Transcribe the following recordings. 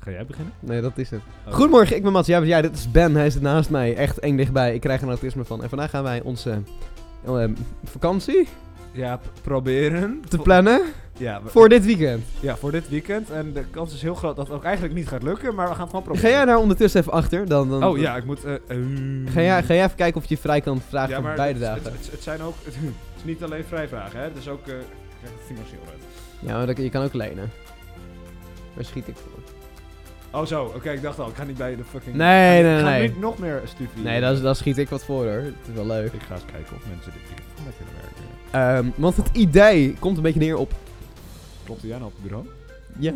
Ga jij beginnen? Nee, dat is het. Oh. Goedemorgen, ik ben Mats. Ja, ja, dit is Ben. Hij zit naast mij. Echt eng dichtbij. Ik krijg er een autisme van. En vandaag gaan wij onze eh, vakantie Ja, p- proberen. te plannen Ja, we- voor dit weekend. ja, voor dit weekend. En de kans is heel groot dat het ook eigenlijk niet gaat lukken, maar we gaan het gewoon Ga proberen. jij daar ondertussen even achter? Dan, dan, Oh ja, ik moet... eh, eh, Ga jij, ga jij even kijken of je vrij kan vragen ja, voor maar beide het, dagen? het, het- het zijn ook... Het, is niet alleen vrijvragen, hè. Het is ook... eh, ik krijg het financieel uit. Ja, maar dat- je kan ook lenen. Waar schiet ik voor? Oh zo, oké, ik dacht al. Ik ga niet bij de fucking... Nee, nee, Ik ga nee. niet nog meer studie. Nee, daar dat schiet ik wat voor hoor. Het is wel leuk. Ik ga eens kijken of mensen dit weekend voor mij kunnen werken. Ehm, want het idee komt een beetje neer op... Klopte jij nou op het bureau? Ja.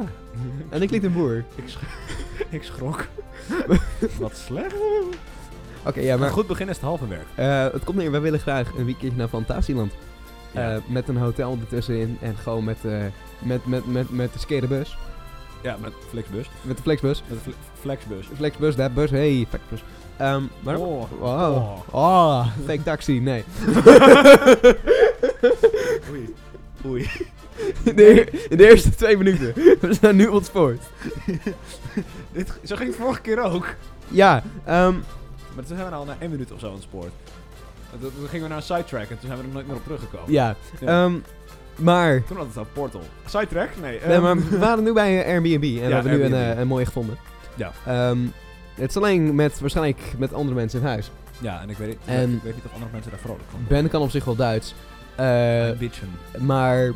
En ik liet een boer. ik, sch- ik schrok. Wat slecht. Oké, ja, maar... Maar goed begin is het halve werk. eh, het komt neer, wij willen graag een weekendje naar Fantasieland. Ja. Eh, met een hotel ertussenin en gewoon met, eh, met, met, met, met de skerenbus. Ja, met Flexbus. Met de flexbus. Met een fle- Flexbus. Flexbus, dat bus, hey, flexbus. Ehm, maar... Oh. Wow. Oh. Oh, fake taxi, nee. Oei. Oei. In de, in de eerste twee minuten. We zijn nu ontspoord. Dit, zo ging het vorige keer ook. Ja, ehm, Maar toen zijn we al na één minuut of zo aan het spoor. En Toen, toen gingen we naar een sidetrack en toen zijn we er nooit meer op teruggekomen. ja. Ja. ehm, maar... Toen had het een portal. Sidetrack? Nee. Nee, ehm, maar we waren nu bij eh, Airbnb en we hebben nu een, Airbnb. eh, een mooie gevonden. Ja. Ehm, het is alleen met, waarschijnlijk met andere mensen in huis. Ja, en ik weet, niet- En- ik weet niet of andere mensen daar vrolijk van Ben kan op zich wel Duits. eh, worden. Bitchen. maar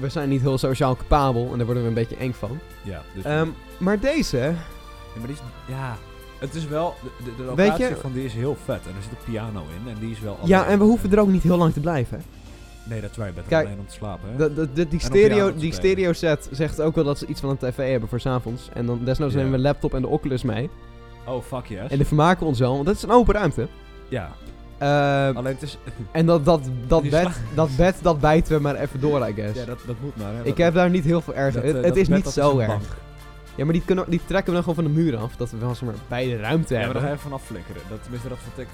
we zijn niet heel sociaal capabel en daar worden we een beetje eng van. Ja, dus... Ehm, maar deze, ja, maar die is... Ja. Het is wel... De, de, de locatie je- van die is heel vet. En er zit een piano in en die is wel... ja, en we hoeven er ook niet heel lang te blijven. Nee, dat is waar. Je bent er Kijk, alleen om te slapen, hè? Dat- dat- dat- die, En op piano stereo, te die spelen. stereo set zegt ook wel dat ze iets van een tv hebben voor 's avonds. En dan desnoods Ja. nemen we een laptop en de Oculus mee. Oh, fuck yes. En dan vermaken we ons wel, want dat is een open ruimte. Ja. Ehm, Alleen het is... en dat, dat, dat, Oh. Die bed, dat bed, dat bijten we maar even door, I guess. Ja, dat, dat moet maar, hè. ik heb daar niet heel veel erg. Dat, eh, het het dat is bed, niet dat zo een erg. bank. Ja, maar die, kunnen, die trekken we dan gewoon van de muur af. Dat we wel zomaar beide Ja, ruimte maar hebben. daar ga je vanaf flikkeren. Dat, tenminste, dat vond ik...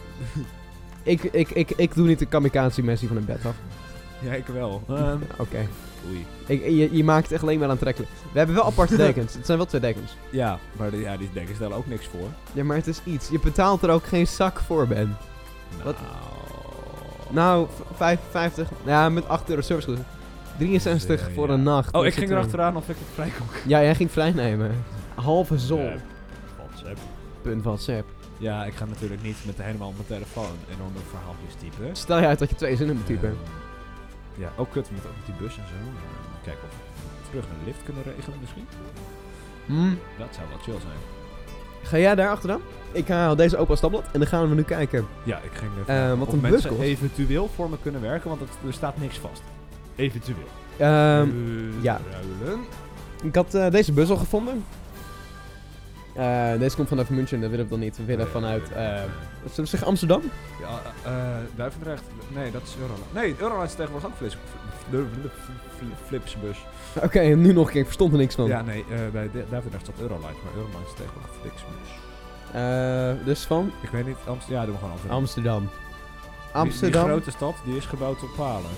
ik, ik, ik, ik doe niet de kamikaze Messi van een bed af. Ja, ik wel. Ehm, Oké. oei. Ik- Je, je maakt het echt alleen maar aantrekkelijk. We hebben wel aparte dekens. Het zijn wel twee dekens. Ja, maar de, ja, die denken stellen ook niks voor. Ja, maar het is iets. Je betaalt er ook geen zak voor, Ben. Nou... Wat? Nou, v- 55. Ja, met 8 euro service. 63 Ja, voor ja. een nacht. Oh, Dat ik is ging het erachteraan of ik het vrij kon dan. Ja, jij ging vrij nemen. Halve zol. Ja. WhatsApp. Punt van Sep. Ja, ik ga natuurlijk niet met helemaal op mijn telefoon enorme verhaaltjes typen. Stel je uit dat je twee zinnen moet typen. Ehm, ja, ook kut met, ook met die bus en zo. Ehm, Kijken of we terug een lift kunnen regelen misschien. Hm? Dat zou wel chill zijn. Ga jij daar achteraan? Ik haal deze opa stapblad en dan gaan we nu kijken. Ja, ik ging even Eh, wat of een bus mensen kost. eventueel voor me kunnen werken, want het, er staat niks vast. Eventueel. Ehm Eh, ja. Ruilen. Ik had eh, deze bus al gevonden. Eh, deze komt vanuit München, dat willen we dan niet. We willen vanuit, eh zullen we zeggen Amsterdam? Ja, eh, eh, Duivendrecht. Nee, dat is Euroland. Nee, Euroland is tegenwoordig ook flips, fl- de- de- fl- Flipsbus. Oké, nu nog een keer, ik verstond er niks van. Ja, nee, eh, bij Du- Duivendrecht staat Euroland, maar Euroland is tegenwoordig Flixbus. Eh, dus van Ik weet niet, Amsterdam. Ja, doen we gewoon Amsterdam. Amsterdam. Die- Amsterdam. Die, grote stad, die is gebouwd op palen.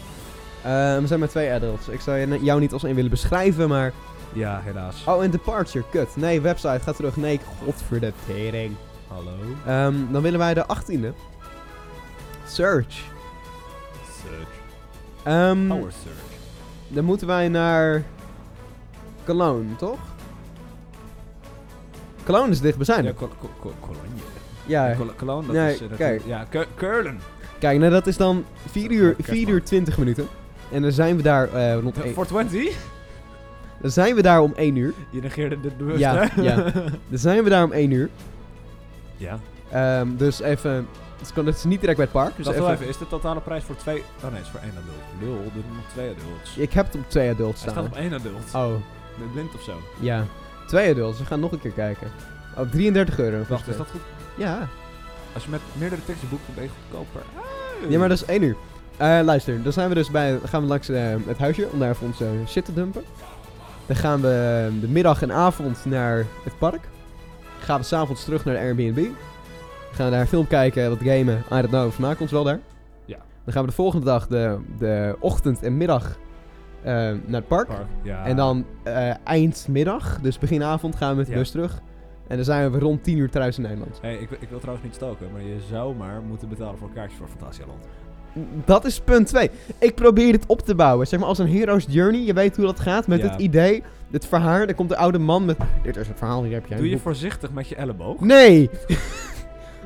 Eh, we zijn met twee adults. Ik zou je- jou niet als één willen beschrijven, maar... Ja, helaas. Oh, en Departure, kut. Nee, website, ga terug. Nee, godverde tering. Hallo. Ehm, dan willen wij de 18e. Search. Search. Ehm, Power Search. dan moeten wij naar... Cologne, toch? Cologne is dichtbijzijn. Ja, Col- Col- Col- Cologne. Ja, Ja, Col- Cologne, dat Nee, is... eh, dat kijk. Ja, Ke- Keulen. kijk, nou dat is dan 4 uur, Kerstman. 4 uur 20 minuten. En dan zijn we daar eh, rond één- 420? Dan zijn we daar om 1 uur. Je negeerde dit bewust, Ja, hè? ja. Dan zijn we daar om 1 uur. ja. Ehm, dus even... Het kan- het is niet direct bij het park. Dus Dus even, even- is de totale prijs voor twee... Oh nee, is voor één adult. Lul, dit moet twee adults. Ik heb het op twee adults Hij staat staan. op één adult. Oh, Ben je blind of zo? ja. Twee adults. We gaan nog een keer kijken. Oh, 33 euro. Wacht, volgens Dus is dat mij. goed? Ja. Als je met meerdere teksten boekt, dan ben je goedkoper. Ja, maar dat is 1 uur. Eh, luister, dan zijn we dus bij, gaan we langs eh, het huisje om daar even onze shit te dumpen. Dan gaan we eh, de middag en avond naar het park. Gaan we s'avonds terug naar de Airbnb. Gaan we daar een film kijken, wat gamen. I don't know, we vermaken ons wel daar. Ja. Dan gaan we de volgende dag, de, de ochtend en middag, eh, naar het park. Park. Ja. En dan eh, eindmiddag, dus beginavond, gaan we met de Ja. bus terug. En dan zijn we rond 10 uur thuis in Nederland. Hey, ik, wil- ik wil trouwens niet stoken, maar je zou maar moeten betalen voor kaartjes voor Fantasialand. Dat is punt 2. Ik probeer dit op te bouwen. Zeg maar als een hero's journey. Je weet hoe dat gaat met Ja. het idee. Het verhaal. Dan komt de oude man met... Dit is het verhaal, hier heb jij. Doe een je boek." voorzichtig met je elleboog. Nee!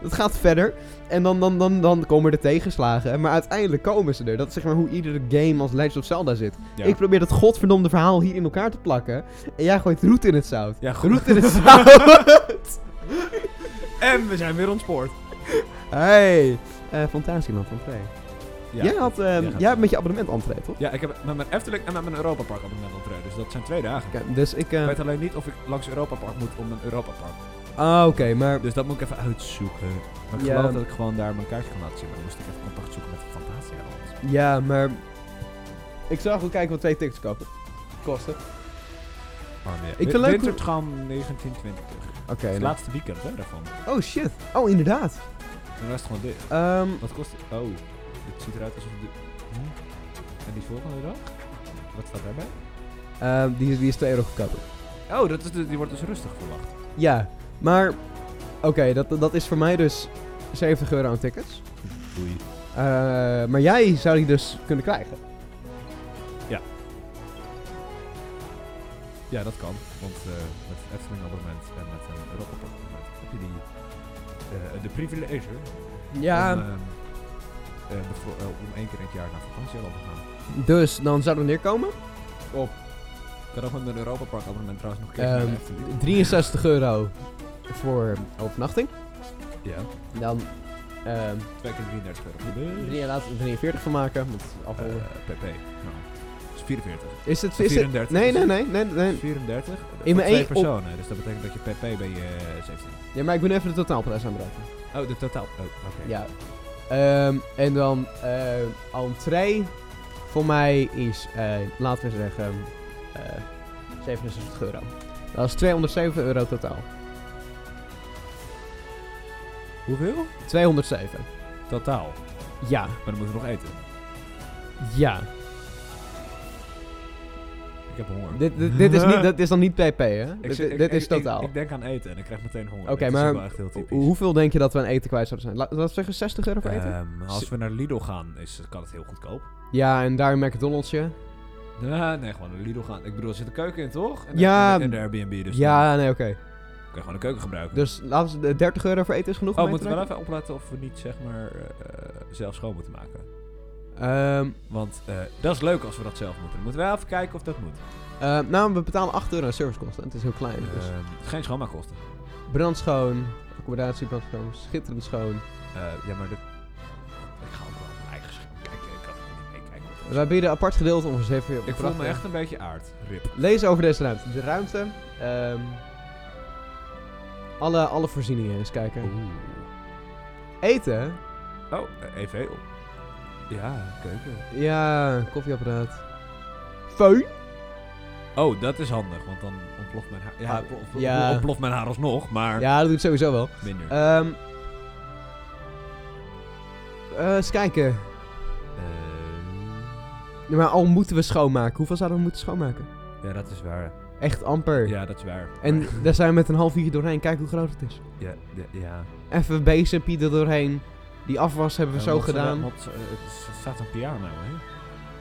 Het gaat verder. En dan, dan, dan, dan komen de tegenslagen. Maar uiteindelijk komen ze er. Dat is zeg maar hoe iedere game als Legend of Zelda zit. Ja. Ik probeer dat godverdomde verhaal hier in elkaar te plakken. En jij gooit roet in het zout. ja, goed. Roet in het zout! En we zijn weer ontspoord. hey! Eh Fantasieland van 2. jij, had, ehm, gaat- jij hebt met je abonnement entree, toch? Ja, ik heb met mijn Efteling en met mijn Europa Park abonnement ontreden. Dus dat zijn twee dagen. Oké, dus ik... eh, Ik weet alleen niet of ik langs Europa Park moet om een Europa Park. Ah, oké, maar... Dus dat moet ik even uitzoeken. Maar ik Ja. geloof dat ik gewoon daar mijn kaartje kan laten zien. Maar dan moest ik even contact zoeken met Fantasialand. Ja, maar... Ik zou gewoon kijken wat twee tickets kopen. Kosten. Maar Oh, nee. Ik vind leuk hoe- Wintertram 1920. Oké. Het is nou. laatste weekend hè, daarvan. Oh, shit. Oh, inderdaad. En de rest gewoon dicht. Ehm, Wat kost het? Oh, het ziet eruit alsof de... Hm? En die volgende dag? Wat staat daarbij? ehm, die, is- die is 2 euro goedkoper. Oh, dat is de, die wordt dus rustig verwacht. Ja, maar... Oké, dat, dat is voor mij dus 70 euro aan tickets. Doei. Eh, maar jij zou die dus kunnen krijgen. Ja, dat kan. Want eh, met het Efteling abonnement en met een Europa Park abonnement heb je die... eh, de privilege om, ehm, eh, bevo- eh, om één keer in het jaar naar vakantieland te gaan. Dus dan zou er neerkomen Ik kan ook met een Europa Park abonnement trouwens nog een keer Ehm naar Efteling. 63 euro voor overnachting. Ja, Dan ehm twee keer 33 euro. drie Dus, jaar later 43 van maken. Want eh, afronden. pp. Nou, dat is 44. is het... Is het 34 nee, is nee, het. nee, nee, nee. 34? In In mijn twee één op- personen, dus dat betekent dat je pp bij je 17. Ja, maar ik ben even de totaalprijs aan het berekenen. Oh, de totaal. Oh, oké. Ja. Ehm, en dan eh entree voor mij is, eh, laten we zeggen, eh 67 euro. Dat is 207 euro totaal. Hoeveel? 207. Totaal. Ja. Maar dan moeten we nog eten. Ja. Ik heb honger. Dit, dit, dit is niet, dat is dan niet pp, hè? Ik Dit, zit- dit ik- is ik- ik- totaal. Ik, denk aan eten en ik krijg meteen honger. Oké, Dit maar is wel echt heel typisch. Hoe- hoeveel denk je dat we aan eten kwijt zouden zijn? La- Laten we zeggen 60 euro voor eten? Ehm, als we naar Lidl gaan, is, kan het heel goedkoop. Ja, en daar een McDonald'sje. Nee, nee, gewoon naar Lidl gaan. Ik bedoel, er zit een keuken in, toch? En Ja. En de, Airbnb, dus dan ja, nee, oké. kun je gewoon de keuken gebruiken. Dus laten we 30 euro voor eten is genoeg. oh, om we mee te moeten wel trekken? even opletten of we niet, zeg maar, eh, zelf schoon moeten maken. Ehm, Want eh, dat is leuk als we dat zelf moeten. Moeten we wel even kijken of dat moet. Eh, nou, we betalen 8 euro aan servicekosten. Het is heel klein. Dus Ehm, geen schoonmaakkosten. brandschoon, accommodatie brandschoon, schitterend schoon. Eh, ja, maar dit... Ik ga ook wel mijn eigen scherm kijken. Ik kan er niet mee kijken. of- Wij bieden apart gedeelte om ons even Ik voel me echt een beetje aard. Rip. Lees over deze ruimte. De ruimte. ehm, alle, alle voorzieningen eens kijken. Eten. Oh, eh, EV op. Ja, keuken. Ja, koffieapparaat. Feun. Oh, dat is handig, want dan ontploft mijn haar. Ja, Ah, ontplof- ja. ontploft mijn haar alsnog, maar Ja, dat doet het sowieso wel. minder. Ehm eh, eens kijken. Eh, Ja, Maar al moeten we schoonmaken. Hoeveel zouden we moeten schoonmaken? ja, dat is waar. Echt amper. Ja, dat is waar. En Maar- daar zijn we met een half uurtje doorheen. Kijk hoe groot het is. Ja, ja. ja. Even bezig, Pieter doorheen. Die afwas hebben we Eh, zo want ze- gedaan. want ze- eh, het staat een piano, hè?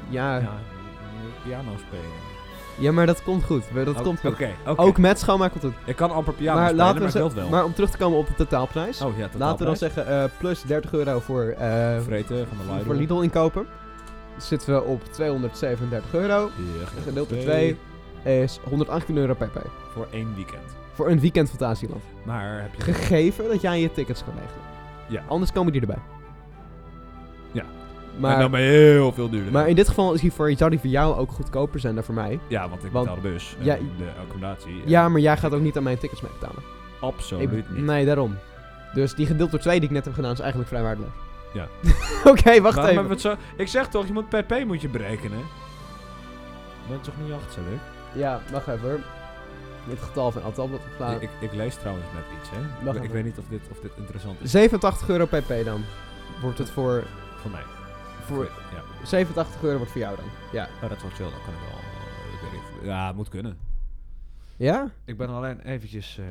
ja, ja. Ja, je moet piano spelen. maar dat komt goed. We- Dat Oh, komt goed. Oké, oké. Ook met schoonmaak komt goed. Ik kan amper piano maar, spelen, laten maar we ik ze- wil het wel. maar om terug te komen op de totaalprijs. oh ja, totaal laten we dan prijs. zeggen eh, plus 30 euro voor, eh, Vreten van de Lidl. voor Lidl inkopen. Zitten we op 237 euro. Ja, Gedeeld door 2 is 118 euro pp. Voor één weekend. Voor een weekend Fantasieland. Maar heb je... Gegeven dat jij je tickets kan regelen. Ja. Anders komen die erbij. Ja. En Maar, dan ben je heel veel duurder. maar in dit geval is die voor, zou die voor jou ook goedkoper zijn dan voor mij. ja, want ik want- betaal de bus. En Ja, de accommodatie. en Ja, maar jij gaat ook niet aan mijn tickets mee betalen. Absoluut Ik- niet. Nee, daarom. Dus die gedeeld door twee die ik net heb gedaan is eigenlijk vrij waardeloos. Ja. Oké, wacht Waarom even. hebben we het zo... Ik zeg toch, je moet pp moet je berekenen. Je bent toch niet achter, hè? Ja, wacht even hoor. Dit getal van Altal wordt Ik, geplaatst. ik, ik lees trouwens net iets, hè. Wacht ik even. weet niet of dit, of dit interessant is 87 euro pp dan. Wordt het voor, voor mij. voor Ja. 87 euro wordt voor jou dan. Ja. Oh, dat is wel chill, dat kan ik wel. eh, ik weet niet. Ja, moet kunnen. Ja? Ik ben alleen eventjes... eh,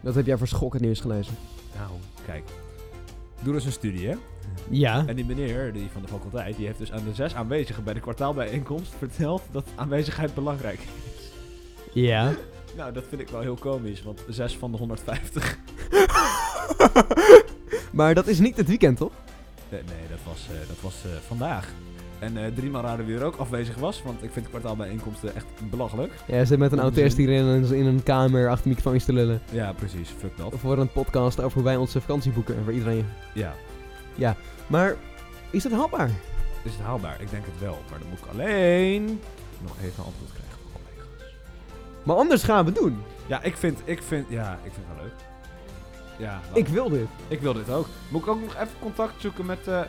Dat heb jij voor schokkend nieuws gelezen. nou, kijk. Doe eens een studie, hè? Ja. En die meneer die van de faculteit, die heeft dus aan de zes aanwezigen bij de kwartaalbijeenkomst verteld dat aanwezigheid belangrijk is. Ja. Nou, dat vind ik wel heel komisch, want zes van de 150. maar dat is niet het weekend, toch? Nee, nee, dat was, eh, dat was eh, vandaag. En eh driemaal raden wie er ook afwezig was, want ik vind de kwartaalbijeenkomsten echt belachelijk. Ja, ze zit met een Onzin. autist hier in, een- in een kamer achter microfoons te lullen. Ja, precies, fuck dat. Voor een podcast over hoe wij onze vakantie boeken en voor iedereen. Ja, Maar is dat haalbaar? is het haalbaar? Ik denk het wel, maar dan moet ik alleen nog even een antwoord krijgen van collega's. Maar anders gaan we het doen. Ja, ik vind, ik vind, ja, ik vind het wel leuk. Ja, wel. Ik wil dit. Ik wil dit ook. Moet ik ook nog even contact zoeken met eh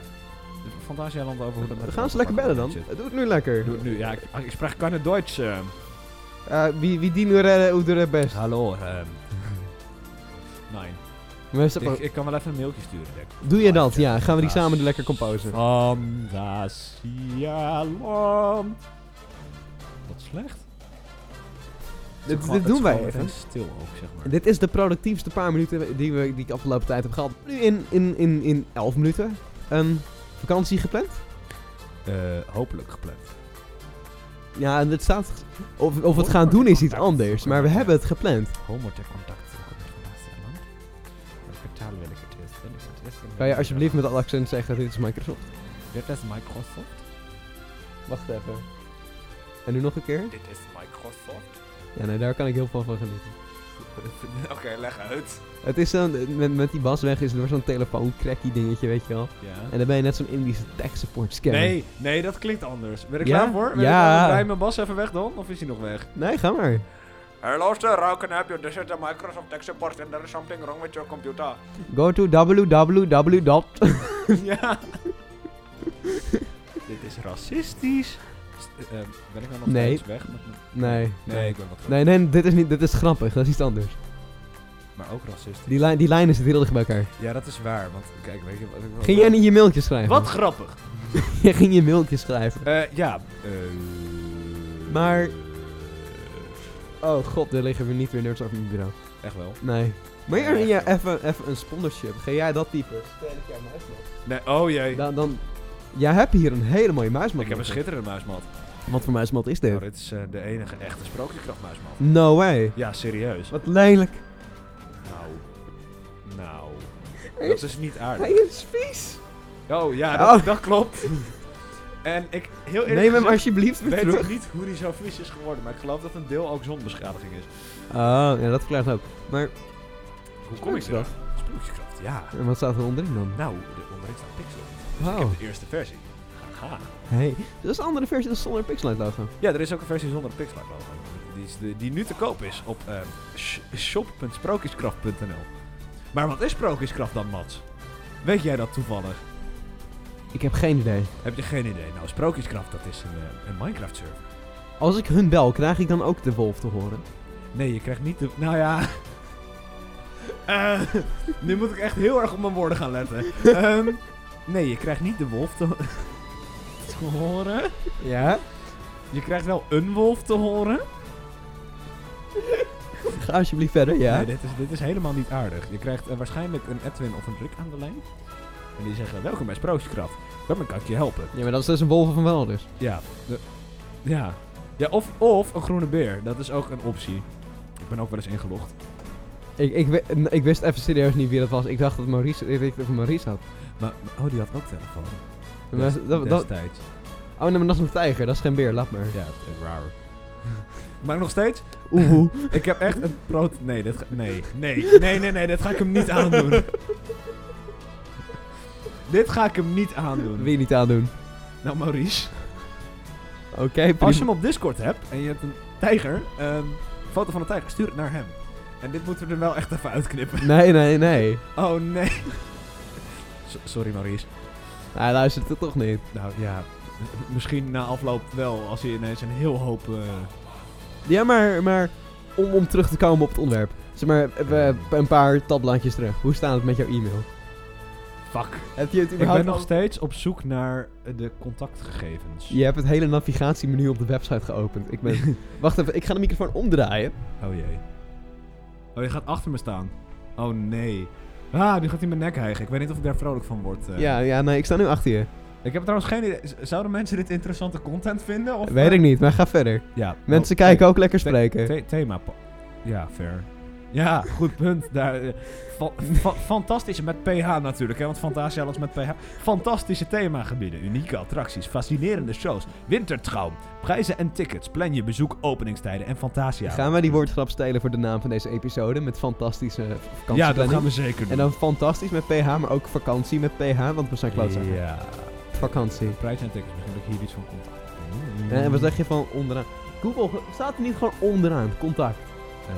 Fantasialand over hoe dat met de We gaan ze lekker bellen dan. zit. Doe het nu lekker. Doe het nu. Ja, ik, ah, ik spreek keine Duits. ehm. Eh, wie, wie die nu redden, hoe doet het best. Hallo. ehm. nee. Mensen, Ik, ik kan wel even een mailtje sturen, denk ik. doe je dat? Ja, gaan we die Fantasie- samen lekker composen. Fantasialand. Wat slecht. Het is Dit, gewoon- dit het doen is wij gewoon meteen even. stil ook, zeg maar. Dit is de productiefste paar minuten die, we, die ik afgelopen tijd heb gehad. Nu in, in, in, in 11 minuten. Een vakantie gepland? Eh, hopelijk gepland. Ja, en het staat. Of, of we Oh, het gaan doen is iets anders, maar we hebben het gepland. Homo ter contact zoeken met Fantasialand. Welke taal wil ik het eerst? Wil ik het eerst? Kan je alsjeblieft met alle accent zeggen: dit is Microsoft? Dit is Microsoft. Wacht even. En nu nog een keer? Dit is Microsoft. Ja, nee, daar kan ik heel veel van genieten. Oké, leg uit. Het is zo'n. Met, met die bas weg is er zo'n telefooncracky dingetje, weet je wel. Ja. En dan ben je net zo'n Indische tech support scammer. Nee, nee, dat klinkt anders. Ben ik Ja? klaar voor? Ben ik Ja. klaar? Draai mijn bas even weg dan? Of is hij nog weg? Nee, ga maar. Hello sir, how can I help you? This is the Microsoft Tech Support and there is something wrong with your computer. Go to www. dot- ja. Dit is racistisch. St- eh, ben ik nou nog Nee. steeds weg? Met mijn- Nee. Nee, ik ben wat Nee, nee, dit is, niet, dit is grappig. Dat is iets anders. Maar ook racistisch. Die, lijn, die lijnen zitten heel dicht bij elkaar. Ja, dat is waar. Want kijk, weet je wat ik Ging jij niet je mailtje schrijven? Wat grappig. Jij ging je mailtje schrijven. Eh, ja. eh, Maar- eh, Oh god, er liggen weer niet weer nerds over mijn bureau. Echt wel. Nee. Maar Ja, ja, echt wel. even, even een sponsorship. Ga jij dat typen? Stel ik jou muismat. Nee, oh jee. Dan, dan... Jij hebt hier een hele mooie muismat. Ik heb een liggen. schitterende muismat. Wat voor muismat is dit? Nou, dit is eh, de enige echte sprookjeskrachtmuismat. No way. Ja, serieus. Wat lelijk. Nou. Nou. Hij Dat is niet Hij aardig. is vies. Oh ja, dat, Oh. dat klopt. En ik, heel eerlijk Neem hem gezegd, alsjeblieft weer weet terug. ik niet hoe die zo vies is geworden. Maar ik geloof dat een deel ook zonbeschadiging is. Oh, ja, dat verklaart het ook. Maar Hoe kom ik eraf? Sprookjeskracht, ja. en wat staat er onderin dan? Nou, de onderin staat Pixel. Ik Wauw. heb de eerste versie. Haha. Hey. Dat is een andere versie dan zonder Pixelite logo. Ja, er is ook een versie zonder een Pixel logo. Die, is de- die nu te koop is op eh, sh- shop.sprookjeskracht.nl. Maar wat is sprookjeskracht dan, Mats? Weet jij dat toevallig? Ik heb geen idee. Heb je geen idee? Nou, sprookjeskracht, dat is een, eh, een Minecraft-server. Als ik hun bel, krijg ik dan ook de wolf te horen? Nee, je krijgt niet de... Nou ja... Eh, nu moet ik echt heel erg op mijn woorden gaan letten. Ehm, nee, je krijgt niet de wolf te, te horen. Ja? Je krijgt wel een wolf te horen. Ga alsjeblieft verder, ja. Nee, dit is, dit is helemaal niet aardig. Je krijgt eh, waarschijnlijk een Edwin of een Rick aan de lijn. En die zeggen, welkom bij Sprookjeskracht. Daarmee kan ik je helpen. Ja, maar dat is dus een wolf van wel dus. Ja. de- ja. Ja, of, of een groene beer. Dat is ook een optie. Ik ben ook wel eens ingelogd. Ik, ik, we- n- ik wist even serieus niet wie dat was. Ik dacht dat Maurice, ik dacht dat Maurice had. Maar, maar- oh, die had ook telefoon. Maar dat, dat, destijds. oh, nee, maar dat is een tijger. Dat is geen beer. Laat maar. Ja, eh, raar. Maar nog steeds, Oeh. oeh. ik heb echt een proot... Nee, dit ga... nee. nee, nee, nee, nee, dit ga ik hem niet aandoen. dit ga ik hem niet aandoen. Wil je niet aandoen. Nou, Maurice. Oké, Als je prima. hem op Discord hebt en je hebt een tijger, ehm, foto van een tijger, stuur het naar hem. En dit moeten we er wel echt even uitknippen. Nee, nee, nee. Oh nee. So- sorry Maurice. Hij luistert het toch niet. Nou ja, m- misschien na afloop wel, als hij ineens een heel hoop... eh, Ja, maar, maar om, om terug te komen op het onderwerp. Zeg maar, we- een paar tabblaadjes terug. Hoe staat het met jouw e-mail? Fuck. Heb je het Ik ben überhaupt nog al- steeds op zoek naar eh, de contactgegevens. Je hebt het hele navigatiemenu op de website geopend. Ik ben... Wacht even, ik ga de microfoon omdraaien. Oh jee. Oh, je gaat achter me staan. Oh nee. Ah, nu gaat hij mijn nek hijgen. Ik weet niet of ik daar vrolijk van word. eh. Ja, ja, nee, ik sta nu achter je. Ik heb trouwens geen idee. Z- Zouden mensen dit interessante content vinden? Of, Weet eh, ik niet, maar ga verder. Ja. Mensen oh, kijken ook lekker the- spreken. the- thema. pa- Ja, fair. Ja, goed punt. Daar, eh, fa- fa- fantastische met PH natuurlijk, hè, want Fantasia was met PH. Fantastische themagebieden, unieke attracties, fascinerende shows, wintertraum, prijzen en tickets. Plan je bezoek, openingstijden en Fantasia. Gaan wij die woordgrap stelen voor de naam van deze episode met fantastische eh, vakantieplanning? Ja, dat gaan we zeker doen. En dan fantastisch met PH, maar ook vakantie met PH, want we zijn klootzak. Ja. Vakantie. Eh, Prijs en tickets, misschien dat ik hier iets van contact. Mm. En wat zeg je van onderaan? Google, staat er niet gewoon onderaan? Contact. Eh,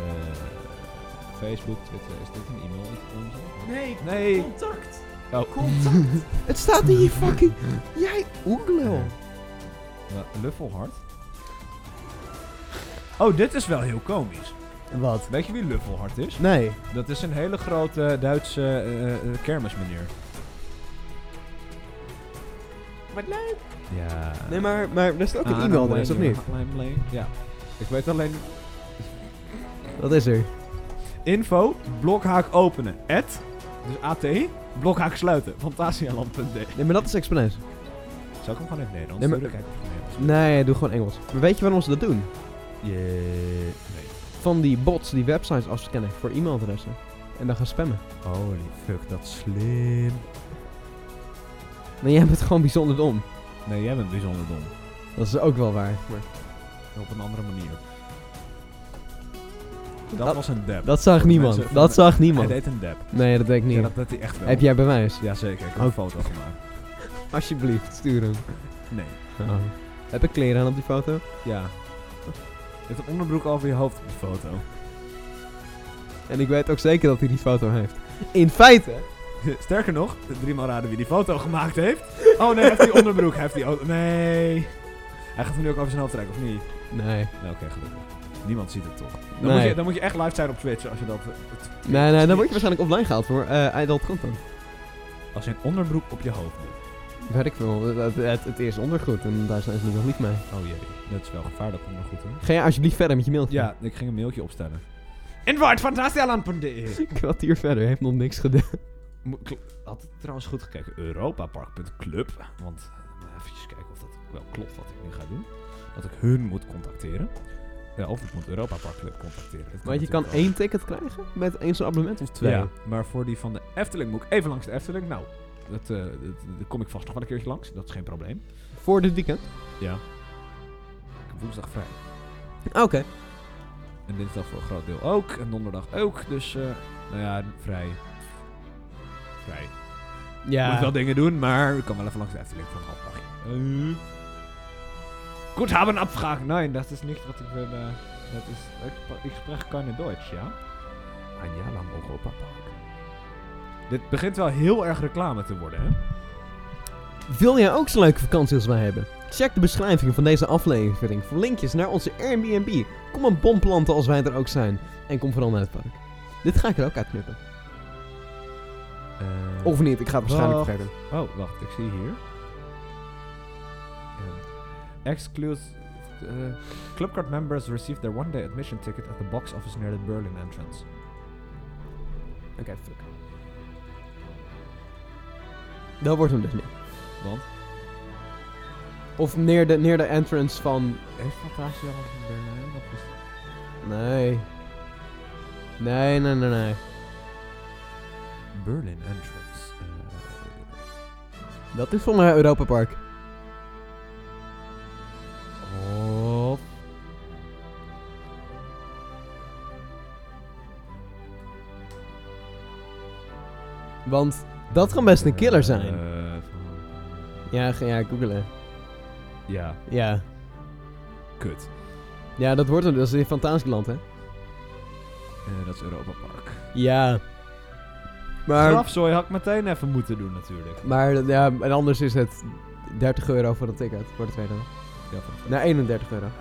Facebook, Twitter, is dit een e-mail? influencer? Nee, Nee. contact. Oh. Contact. Het staat in je fucking... Jij oeglul. Eh, Luffelhart? Oh, dit is wel heel komisch. Wat? Weet je wie Luffelhart is? Nee. Dat is een hele grote Duitse eh, eh, kermismeneer. Wat leuk. Ja. Ah, Nee, maar, maar Ah, er staat ook een e-mail adres of niet? Ja. Ik weet alleen... Wat is er? Info, blokhaak openen. At, dus AT, blokhaak sluiten. Fantasialand.de Nee, maar dat is expres. Zou ik hem gewoon even Nederlands Nee, maar- sturen? Kijk of hij Nederlands Nee, doe gewoon Engels. Maar weet je waarom ze dat doen? Yeah. Nee. Van die bots die websites afscannen voor e-mailadressen. En dan gaan spammen. Holy Oh, fuck, dat is slim. Maar jij bent gewoon bijzonder dom. Nee, jij bent bijzonder dom. Dat is ook wel waar. Maar Op een andere manier. Dat, Dat- was een dab. dat zag niemand. Mensen- dat zag niemand. Hij deed een dab. Nee, dat denk ik Ja, niet. dat deed hij echt wel. Heb jij bewijs? Jazeker, ik heb Oh. een foto gemaakt. Alsjeblieft, stuur hem. Nee. Heb ik kleren aan op die foto? Ja. Je hebt een onderbroek over je hoofd op de foto. En ik weet ook zeker dat hij die foto heeft. In feite. Sterker nog, driemaal raden wie die foto gemaakt heeft. Oh nee, hij heeft die onderbroek. Hij heeft die... o- Nee. Hij gaat hem nu ook over zijn hoofd trekken, of niet? Nee. Nee, oké, gelukkig. Niemand ziet het toch. Dan, moet Nee. je, dan moet je echt live zijn op Twitch als je dat... het- Nee, nee, dan word je waarschijnlijk offline gehaald voor eh adult content. Als je een onderbroek op je hoofd doet. Weet ik veel. Het, het, het is ondergoed en daar zijn ze nu nog niet mee. Oh jee, dat is wel gevaarlijk om goed hoor. Ga jij alsjeblieft verder met je mailtje? Ja, ik ging een mailtje opstellen. Invitefantastialand.de Kwartier verder, heeft nog niks gedaan. Mo- kl- Had trouwens goed gekeken. Europapark.club. Want eh, even kijken of dat wel klopt wat ik nu ga doen. Dat ik hun moet contacteren. Ja, of ik moet Europaparkclub contacteren. Dat Want je kan natuurlijk één ticket krijgen met één zo'n abonnement of ook. Dus twee. Ja, maar voor die van de Efteling moet ik even langs de Efteling. Nou, dat, eh, dat- daar kom ik vast nog wel een keertje langs. Dat is geen probleem. Voor dit weekend? Ja. Ik heb woensdag vrij. Oké. En dinsdag voor een groot deel ook. En donderdag ook. Dus, eh, nou ja, vrij. Vrij. Ja. Moet wel dingen doen, maar ik kan wel even langs de Efteling voor een half dagje. Goed, hebben abvragen. Nein, dat is niet wat ik wil. eh, Dat is, ik, spra- ik spreek keine Deutsch, ja? Een jaar lang Europa Park. Dit begint wel heel erg reclame te worden, hè? Wil jij ook zo'n leuke vakantie als wij hebben? Check de beschrijving van deze aflevering voor linkjes naar onze Airbnb. Kom een bom planten als wij er ook zijn. En kom vooral naar het park. Dit ga ik er ook uitknippen. Eh, Of niet, ik ga het waarschijnlijk Wacht. vergeten. Oh, wacht, ik zie hier. Eh, exclusive. eh, Clubcard members receive their one-day admission ticket at the box office near the Berlin entrance. Oké, fuck. Dat wordt hem dus niet. Want? Of neer de, neer de entrance van... Heeft Fantasia al in Berlijn? Of is Nee. Nee, nee, nee, nee. Berlin entrance. eh, Dat is volgens mij Europa Park. op. Want dat kan best een killer zijn. Eh, Ja, ga ja, googelen. ja, Ja. kut. Ja, dat wordt hem. Dat is in Fantasieland, hè? Eh, dat is Europa Park. Ja. Maar, Grafzooi had ik meteen even moeten doen natuurlijk. maar ja, en anders is het 30 euro voor een ticket. Voor de tweede. Ja, van Nou, 31 euro. Eh,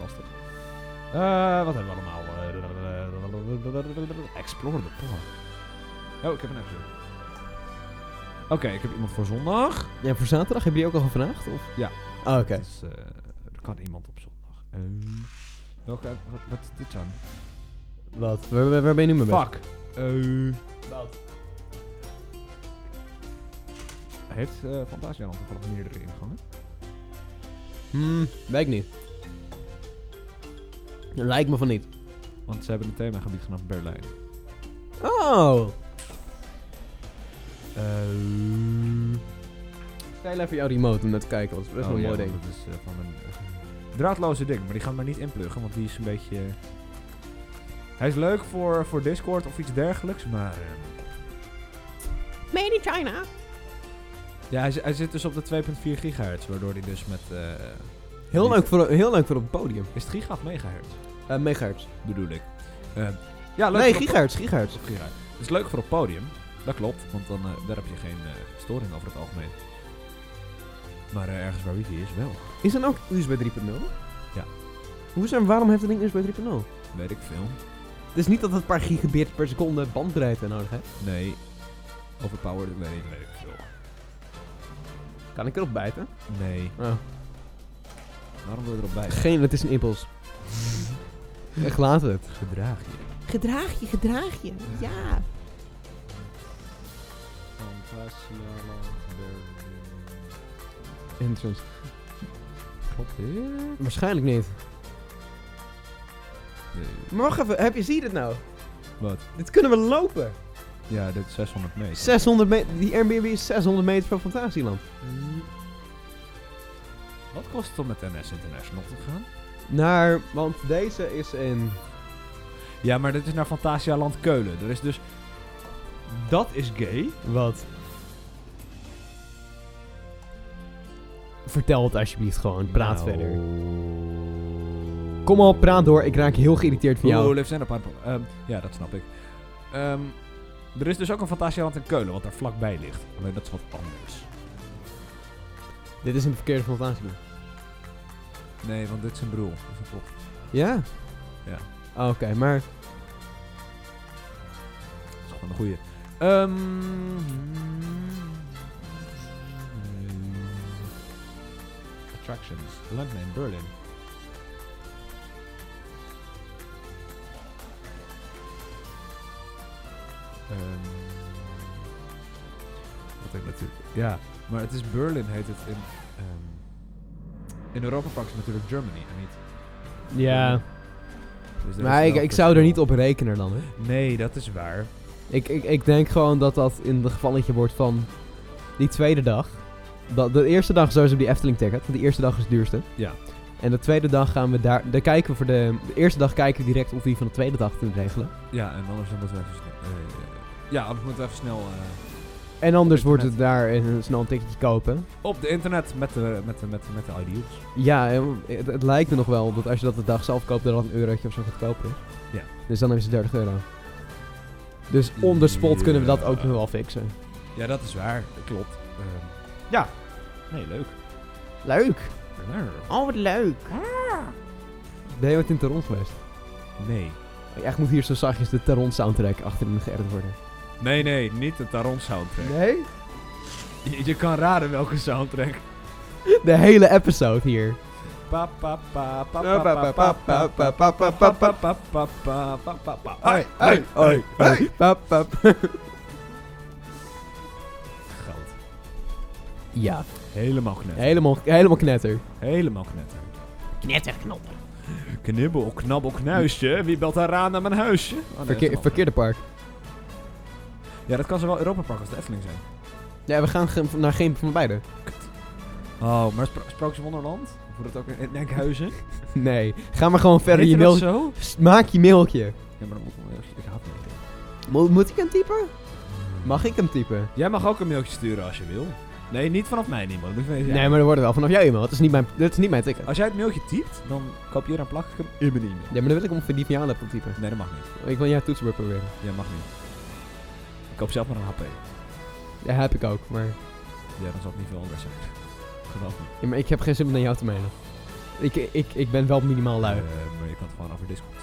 Lastig. Eh, wat hebben we allemaal? Eh, Explore the park. Oh, ik heb een episode. Oké, ik heb iemand voor zondag. Ja, voor zaterdag hebben jullie ook al gevraagd? Of? Ja. Oh, oké. Dus, eh, er kan iemand op zondag. Eh, welke, wat, wat is dit dan? Wat? Waar, waar- waar ben je nu mee bezig? Fuck. Eh heeft eh Fantasialand toevallig meerdere ingangen? Hmm, weet ik niet. Lijkt me van niet. Want ze hebben een themagebied vanaf Berlijn. Oh! Eh Stel even jouw remote om naar te kijken, want dat is best oh wel een ja, mooi want ding. Dat is eh, van een eh, draadloze ding, maar die gaan maar niet inpluggen, want die is een beetje... eh, hij is leuk voor, voor Discord of iets dergelijks, maar... eh, Made in China. ja, hij, zi- hij zit dus op de 2.4 gigahertz, waardoor hij dus met... eh, Heel niet- leuk, voor, heel leuk voor op het podium. Is het giga of megahertz? Eh megahertz. Bedoel ik. Eh, ja, leuk Nee, voor op- gigahertz, gigahertz. Of Gerard. Het is leuk voor op podium. Dat klopt, want dan, eh, daar heb je geen eh, storing over het algemeen. Maar eh, ergens waar wifi is wel. Is dan ook USB 3.0? Ja. Hoe zijn, waarom heeft dat ding USB 3.0? Weet ik veel. Het is niet dat het een paar gigabit per seconde bandbreedte nodig heeft. Nee. Overpowered. Nee, weet ik veel. Kan ik erop bijten? Nee. Oh. Waarom wil je erop bij? Geen, het is een impuls. Echt laten het. Gedraag je. Gedraag je, gedraag je. Ja. Fantasialand Entrance. Klopt Eh, dit? Waarschijnlijk niet. Maar wacht even, heb je, zie je dit nou? Wat? Dit kunnen we lopen. Ja, dit is 600 meter. 600 meter, die Airbnb is 600 meter van Fantasieland. Wat kost het om met NS International te gaan? Naar, want deze is in... Ja, maar dit is naar Fantasialand Keulen. Er is dus... Dat is gay. Wat? Vertel het alsjeblieft gewoon, praat Nou. verder. Kom op, praat door, ik raak heel geïrriteerd van jou. Oeh, Lives and a Pineapple. Ehm, ja, dat snap ik. Ehm, er is dus ook een Fantasialand in Keulen, wat daar vlakbij ligt. Alleen dat is wat anders. Dit is een verkeerde Fantasieland. Nee, want dit is een broer. Dat is een prop. Ja? Oh, Ja. Oké, maar Dat is gewoon een goeie. Ehm, attractions. Landname Berlin. Ehm, wat ik natuurlijk. Ja, maar het is Berlin heet het in. ehm, in Europa Park is natuurlijk Germany en niet. Ja. Dus daar Maar is ik, wel ik zou er niet verschil. op rekenen dan, hè. Nee, dat is waar. Ik, ik, ik denk gewoon dat dat in het gevalletje wordt van die tweede dag. Dat, de eerste dag sowieso op die Efteling ticket. want Die eerste dag is het duurste. Ja. En de tweede dag gaan we daar... daar kijken we voor de, de eerste dag kijken we direct of we die van de tweede dag kunnen regelen. Ja, en anders dan moeten we even snel. eh, ja, anders moeten we even snel eh, En anders Internet. wordt het daar een, snel een ticketje kopen. op de internet met de, met de, met de, met de IDU's. Ja, en het, het lijkt me nog wel dat als je dat de dag zelf koopt, dat dat een eurotje of zo goedkoper is. Ja. Dus dan hebben ze 30 euro. Dus on the spot kunnen we dat ook Ja. nog wel fixen. Ja, dat is waar. Dat klopt. Ehm, ja. Nee, leuk. Leuk! Oh, wat leuk. Ben je ooit in Toronto geweest? Nee. Echt moet hier zo zachtjes de Taron soundtrack achterin geërfd worden. Nee, nee, niet de Taron soundtrack. Nee? Je, je kan raden welke soundtrack. De hele episode hier. Pa, pa, pa, pa, pa, pa, pa, pa, pa, pa, pa, Hoi, pa, pa, pa, pa, pa. Hoi, hoi, hoi, hoi. Pap, pap. Goud. Ja, Helemaal knetter. helemaal, helemaal knetter. Helemaal knetter. Knetterknoppen. Knibbel, knabbel, knuisje. Wie belt daar aan naar mijn huisje? Oh, nee, dat is een Verkeer, ander. verkeerde park. Ja, dat kan zowel Europa Park als de Efteling zijn. Ja, we gaan ge- naar geen van beide. Oh, maar spro Sprookjes Wonderland? Of wordt het ook in in Enkhuizen? Nee, ga maar gewoon verder. Je Heet dat mail... zo? S- Maak je mailtje. Ja, maar dan moet ik... Ik haat mailtjes. Mo- moet ik hem typen? Mag ik hem typen? Jij mag ook een mailtje sturen als je wil. Nee, niet vanaf mij, niemand. Dat weet jij. Nee, maar er worden wel vanaf jouw e-mail. Het is niet mijn, het is niet mijn ticket. Als jij het mailtje typt, dan kopieer en plak ik hem in mijn e-mail. Ja, maar dan wil ik hem voor die van jou laptop typen. Nee, dat mag niet. Ik wil jouw toetsenbord proberen. Jij mag niet. Ik koop zelf maar een HP. Ja, heb ik ook, maar... Ja, dan zal het niet veel anders zijn. Geloof me. Ja, maar ik heb geen zin om naar jou te mailen. Ik, ik, ik ben wel minimaal lui. Eh, maar je kan het gewoon over Discord.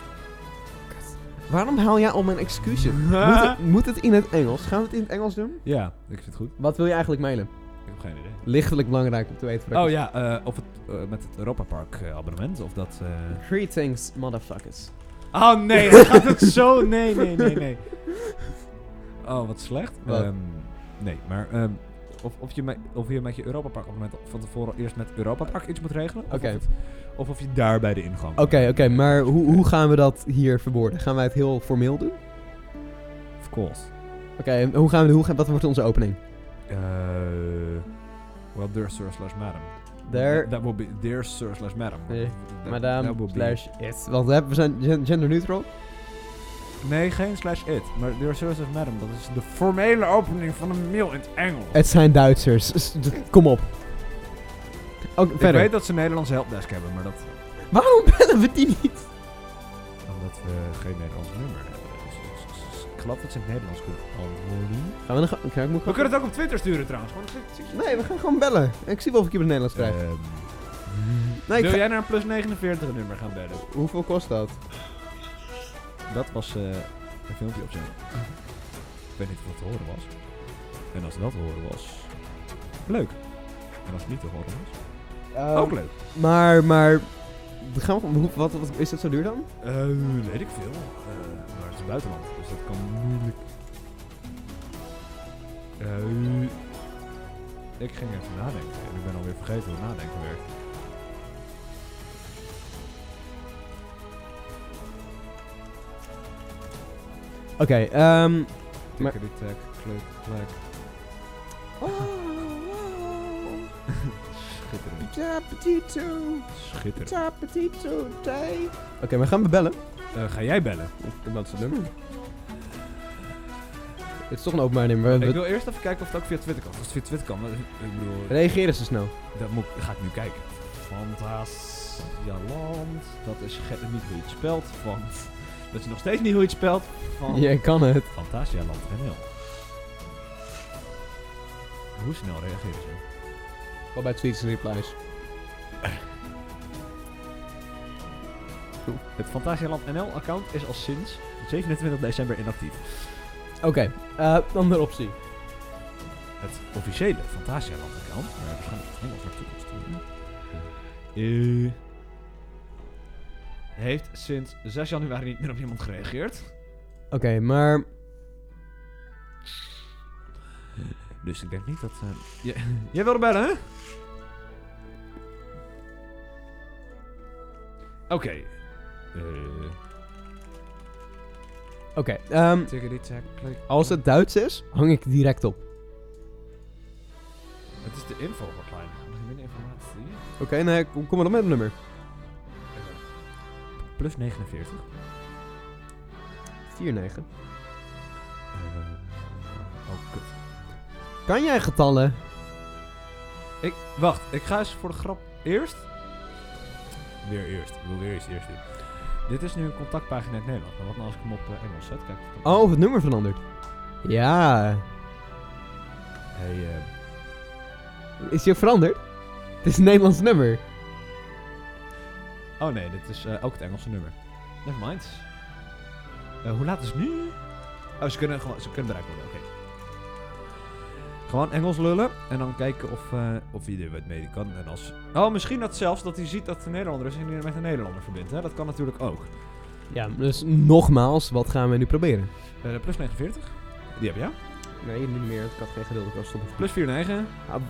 Waarom haal jij al mijn excuses? moet, het, moet het in het Engels? Gaan we het in het Engels doen? Ja, ik vind het goed. Wat wil je eigenlijk mailen? Ik heb geen idee. Lichtelijk belangrijk om te weten. wat ik Oh ja, eh, of het eh, met het Europa Park eh, abonnement of dat. eh, Greetings, motherfuckers. Oh nee, hij gaat het zo. Nee, nee, nee, nee. Oh, wat slecht. Wat? Ehm, nee, maar ehm, of, of, je met, of je met je Europa Park op het moment van tevoren eerst met Europa Park iets moet regelen. Of, Oké. of, het- of of je daar bij de ingang. Oké, oké, maar hoe, hoe gaan we dat hier verwoorden? Gaan wij het heel formeel doen? Of course. Oké, en hoe gaan we, hoe gaan, wat wordt onze opening? Eh, well, dear sir slash madam. There- That, that will be dear sir slash madam. Nee, That- that will Madame be- slash it. Want we hebben- we zijn gen- gender neutral. Nee, geen slash it. Maar dear sir slash madam, dat is de formele opening van een mail in het Engels. Het zijn Duitsers. S- d- Kom op. Ook Ik verder. weet dat ze een Nederlandse helpdesk hebben, maar dat... Waarom bellen we die niet? Omdat we geen Nederlands nummer hebben. Dus- dus- dus Ik geloof dat ze in het Nederlands kunnen antwoorden. Gaan we nog... Oké, ik moet We gewoon- kunnen het ook op Twitter sturen trouwens. Gewoon Nee, we gaan gewoon bellen. Ik zie wel of ik hier op het Nederlands krijg. Ehm, nee, ik wil ga- jij naar een plus 49 nummer gaan bellen? Hoeveel kost dat? Dat was eh, een filmpje op zijn. Ik weet niet of dat te horen was. En als dat te horen was, leuk. En als het niet te horen was, ook leuk. Ehm, Maar, maar... we Gaan we, hoe- wat, wat, is dat zo duur dan? Eh, weet ik veel. Eh, maar het is buitenland, dus dat kan moeilijk. Eh, ik ging even nadenken en ik ben alweer vergeten hoe nadenken werkt. Oké, ehm... Maar- Tickety tack, klik, klak. Oh, Schitterend. Schitterend. Oké, maar gaan we bellen? Eh, ga jij bellen? Wat is het nummer? Het is toch een openbaar nummer. We- Ik wil eerst even kijken of het ook via Twitter kan. Als het via Twitter kan, dan- ik bedoel, Reageren ze snel. dat moet, ik- ga ik nu kijken. Fantasialand, dat is ge- niet hoe je het spelt. Van, dat is nog steeds niet hoe je het spelt. Van Jij kan het. Fantasialand.nl Hoe snel reageren ze? Wel bij tweets en replies. Het Fantasialand NL account is al sinds 27 december inactief. Oké, eh, andere optie. Het officiële Fantasialand account, waar waarschijnlijk het Engels naartoe komt sturen, eh, heeft sinds 6 januari niet meer op iemand gereageerd. Oké, maar... Dus ik denk niet dat... eh, j- jij wilde bellen, hè? Oké. Eh, Oké, ehm, eh, als het Duits is, hang ik direct op. Het is de info hotline. Geen informatie. Oké, nee, kom, kom maar op met een nummer. Plus 49. 49. oh, kut. Kan jij getallen? Ik, wacht, ik ga eens voor de grap eerst. Weer eerst. Ik wil weer eens eerst doen. Dit is nu een contactpagina in het Nederlands. Maar wat nou als ik hem op eh, Engels zet? Kijk. of dat- Oh, het nummer veranderd. Ja. Hey, eh, Is die ook veranderd? Het is een Nederlands nummer. oh nee, dit is eh, ook het Engelse nummer. Never mind. Eh, hoe laat is het nu? Oh, ze kunnen, gewoon, ze kunnen eruit worden, oké. Gewoon Engels lullen en dan kijken of, eh of je er wat mee kan. En als... Oh, misschien dat zelfs dat hij ziet dat het een Nederlander is en die met een Nederlander verbindt. Hè? Dat kan natuurlijk ook. Ja, dus nogmaals, wat gaan we nu proberen? Eh, plus 49. Die heb je, ja. Nee, niet meer. Ik had geen geduld. Ik was stoppen. Plus 49.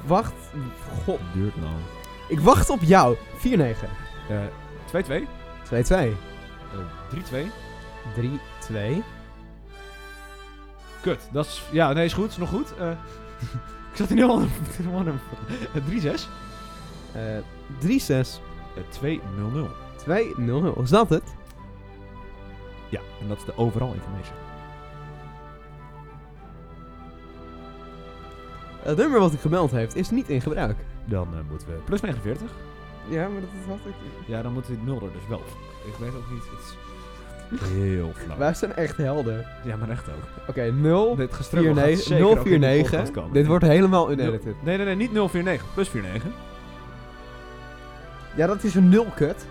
wacht. God. Duurt nou. Ik wacht op jou. 4-9. Eh, 2-2. 2-2. Eh, 3-2. 3-2. Kut. Dat is... Ja, nee, is goed. Is nog goed. Eh, ik zat in heel ander... in een ander- Eh, 3-6. Eh 3-6. Eh, 2-0-0. 2-0. Is dat het? Ja, en dat is de overal information. Het nummer wat ik gemeld heeft is niet in gebruik. Dan eh, moeten we... Plus 49. Ja, maar dat had ik. Ja, dan moet die 0 er dus wel. Ik weet ook niet... Het is heel flauw. Wij zijn echt helden. Ja, maar echt ook. Oké, 0. Dit gestruggel gaat zeker ook in de podcast 049. komen. Dit wordt helemaal Nul- unedited. Nee, nee, nee. Niet 049. Plus 49. Ja, dat is een nul kut.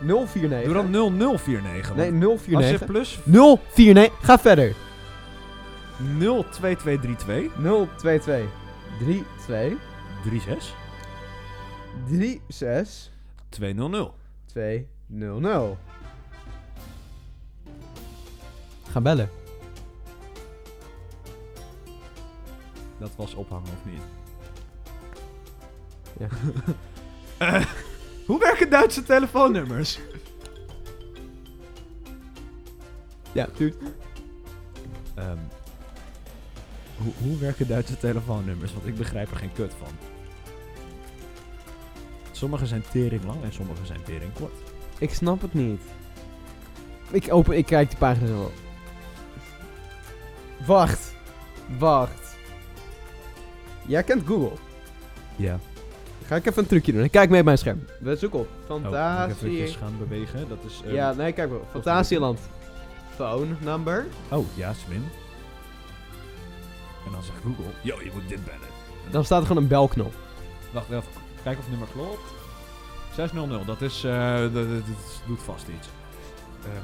049. Doe dan 0049. want Nee, Als je 049. plus 049. Ga verder. 02232 022. 32. 36 36. 200. 200. Ga bellen. Dat was ophangen of niet? Ja. Eh, hoe werken Duitse telefoonnummers? Ja, dude. Ehm, hoe, hoe werken Duitse telefoonnummers? Want ik begrijp er geen kut van. Sommige zijn tering lang en sommige zijn tering kort. Ik snap het niet. Ik open, ik kijk de pagina zo. op. Wacht. Wacht. Jij kent Google. Ja. Ga ik even een trucje doen. Kijk mee op mijn scherm. We zoeken op. Oh, moet ik Fantasie. even gaan bewegen. Dat is... ehm, ja, nee, kijk maar. op. Fantasieland. Phone number. Oh, ja, Smin. En dan zegt Google... Yo, je moet dit bellen. Dan staat er gewoon een belknop. Wacht even, kijk of het nummer klopt. 600, dat is. eh, dat, dat- dat doet vast iets.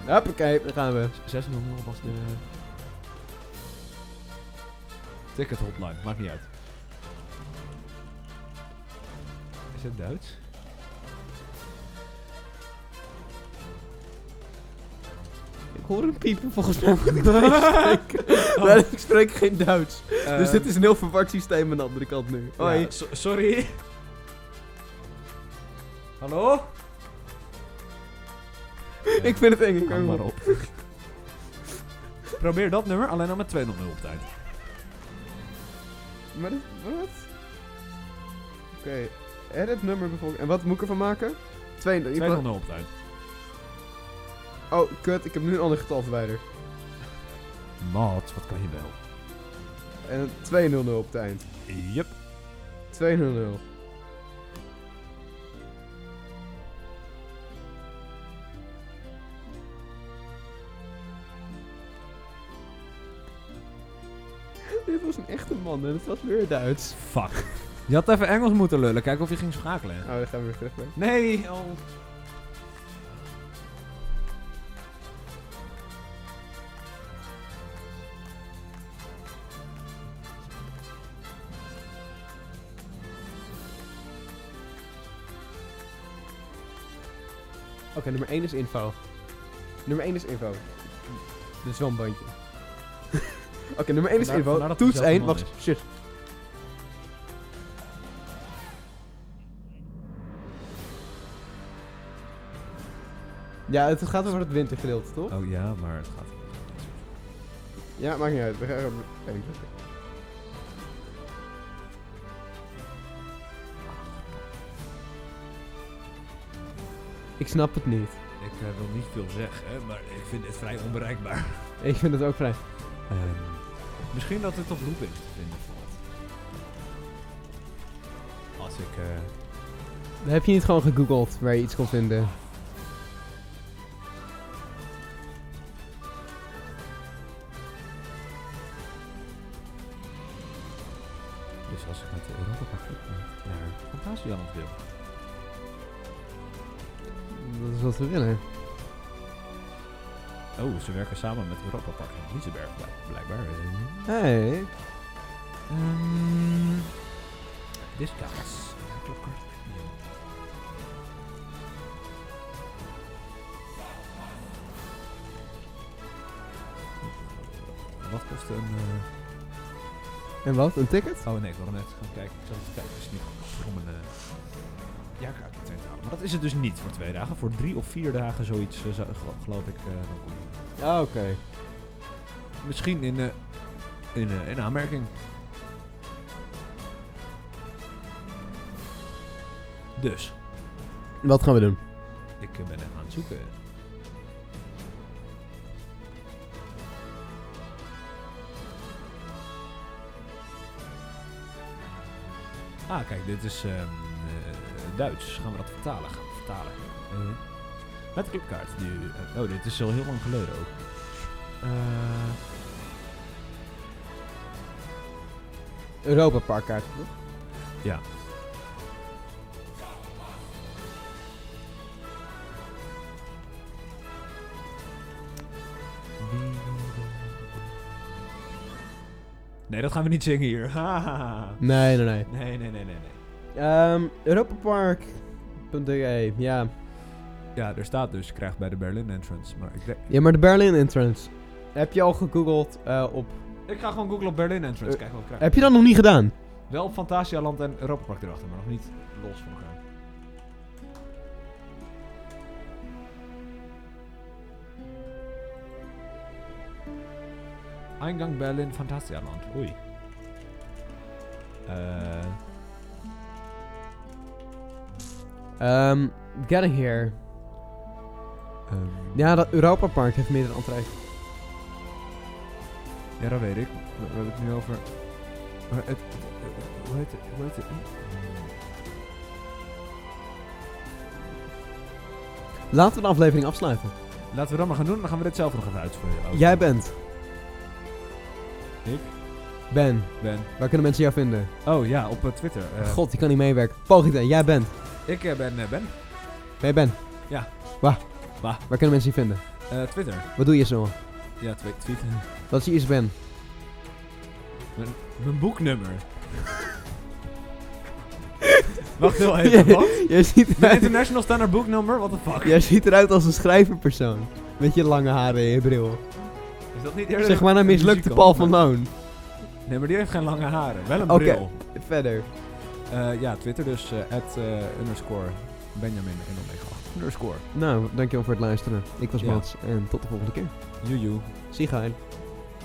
Ehm, Hoppakee, daar gaan we. 600 was de. Eh, Ticket hotline, maakt niet uit. Is het Duits? Ik hoor een piepen, volgens mij moet ik spreken. Maar ik spreek geen Duits. dus dit is een heel verward systeem aan de andere kant nu. Hoi. Eh, Ja, so- sorry. Hallo? Ik vind het eng. ik Hang hang maar op. Probeer dat nummer alleen al met 200 op tijd. Maar dit, wat? Oké, edit nummer bijvoorbeeld. En wat moet ik ervan maken? 200. 200 op tijd. Oh, kut, ik heb nu een ander getal verwijderd. Maat, wat kan je wel? En 200 op het eind. Yep. 200. Dit was een echte man en het was weer Duits. Fuck. Je had even Engels moeten lullen, kijken of je ging schakelen. Oh, daar gaan we weer terug mee. Nee, oh. Oké, nummer 1 is info. Nummer 1 is info. Dit is wel een bandje. Oké, nummer 1 is Vandaar- vandaar dat info. het Toets dezelfde 1. man Wacht, shit. Ja, het gaat over het wintergedeelte, toch? Oh ja, maar het gaat. Ja, maakt niet uit. We gaan even drukken. Ik snap het niet. Ik eh, wil niet veel zeggen, maar ik vind dit vrij onbereikbaar. Ik vind het ook vrij. Ehm, misschien dat het op loop is te vinden valt. Als ik. eh, Heb je niet gewoon gegoogeld waar je iets kon vinden? dus als ik met de Europa naar Fantasieland wil. Dat is wat we willen. Oh, ze werken samen met Europa Park in Liseberg, blijk- blijkbaar. Eh, Hey. Ehm discounts. Klopkaart. Wat kost een... eh, En wat? Een ticket? Oh nee, ik wilde net gaan kijken. Ik zal even kijken. Het is niet goed om een eh jaarkaart meteen te halen. Maar dat is het dus niet voor twee dagen. Voor drie of vier dagen zoiets, eh, zou- gel- geloof ik. eh, dan kom je. Ah, oké. Misschien in, eh, in, eh, in aanmerking. Dus, Wat gaan we doen? ik eh, ben even aan het zoeken. Ah, kijk, dit is ehm, eh, Duits. Gaan we dat vertalen? Gaan we vertalen. Eh, met de clubkaart. Die, eh, oh, dit is al heel lang geleden ook. Eh, Europa Parkkaart. toch? Ja. Nee, dat gaan we niet zingen hier. Hahaha. Nee, nee, nee. nee, nee, nee, nee, nee. Ehm Europapark.de, ja. Ja, er staat dus, krijgt bij de Berlin entrance. Maar ik, denk- Ja, maar de Berlin entrance. Heb je al gegoogeld eh, op... ik ga gewoon googlen op Berlin entrance. Eh, Kijk wat ik krijg. Heb je dat nog niet gedaan? Wel op Fantasialand en Europa Park erachter, maar nog niet los van elkaar. Eingang Berlin Fantasialand. Oei. Eh, Ehm getting here. ehm, Ja, dat Europapark heeft meer dan entree. ja, dat weet ik. We we hebben het nu over. Maar het, het- hoe heet het? Hoe heet het? Laten we de aflevering afsluiten. Laten we dat maar gaan doen, dan gaan we dit zelf nog even Oh, uitspelen. Ook. Jij bent Ik Ben. ben. Waar kunnen mensen jou vinden? Oh ja, op eh, Twitter. Eh, God, die kan niet meewerken. Pogita, jij bent. Ik eh, ben eh, Ben. Jij Ben. Ja. Waar? Waar? Waar kunnen mensen je vinden? Eh, Twitter. Wat doe je zo? Ja, twi- Twitter. Dat is je eerste Ben. Mijn, mijn boeknummer. Wacht heel even, wat? Jij ziet, Mijn eruit, international standaard boeknummer? What the fuck? jij ziet eruit als een schrijverpersoon. Met je lange haren en je bril. Is dat niet eerder Zeg maar een mislukte Paul van Loon. Nee, maar die heeft geen lange haren. Wel een Oké. bril. Verder. Eh, ja, Twitter dus. eh, at, eh, underscore Benjamin en omega 8. Underscore. Nou, dankjewel voor het luisteren. Ik was Ja. Mats en tot de volgende keer. Joejoe. Zie je.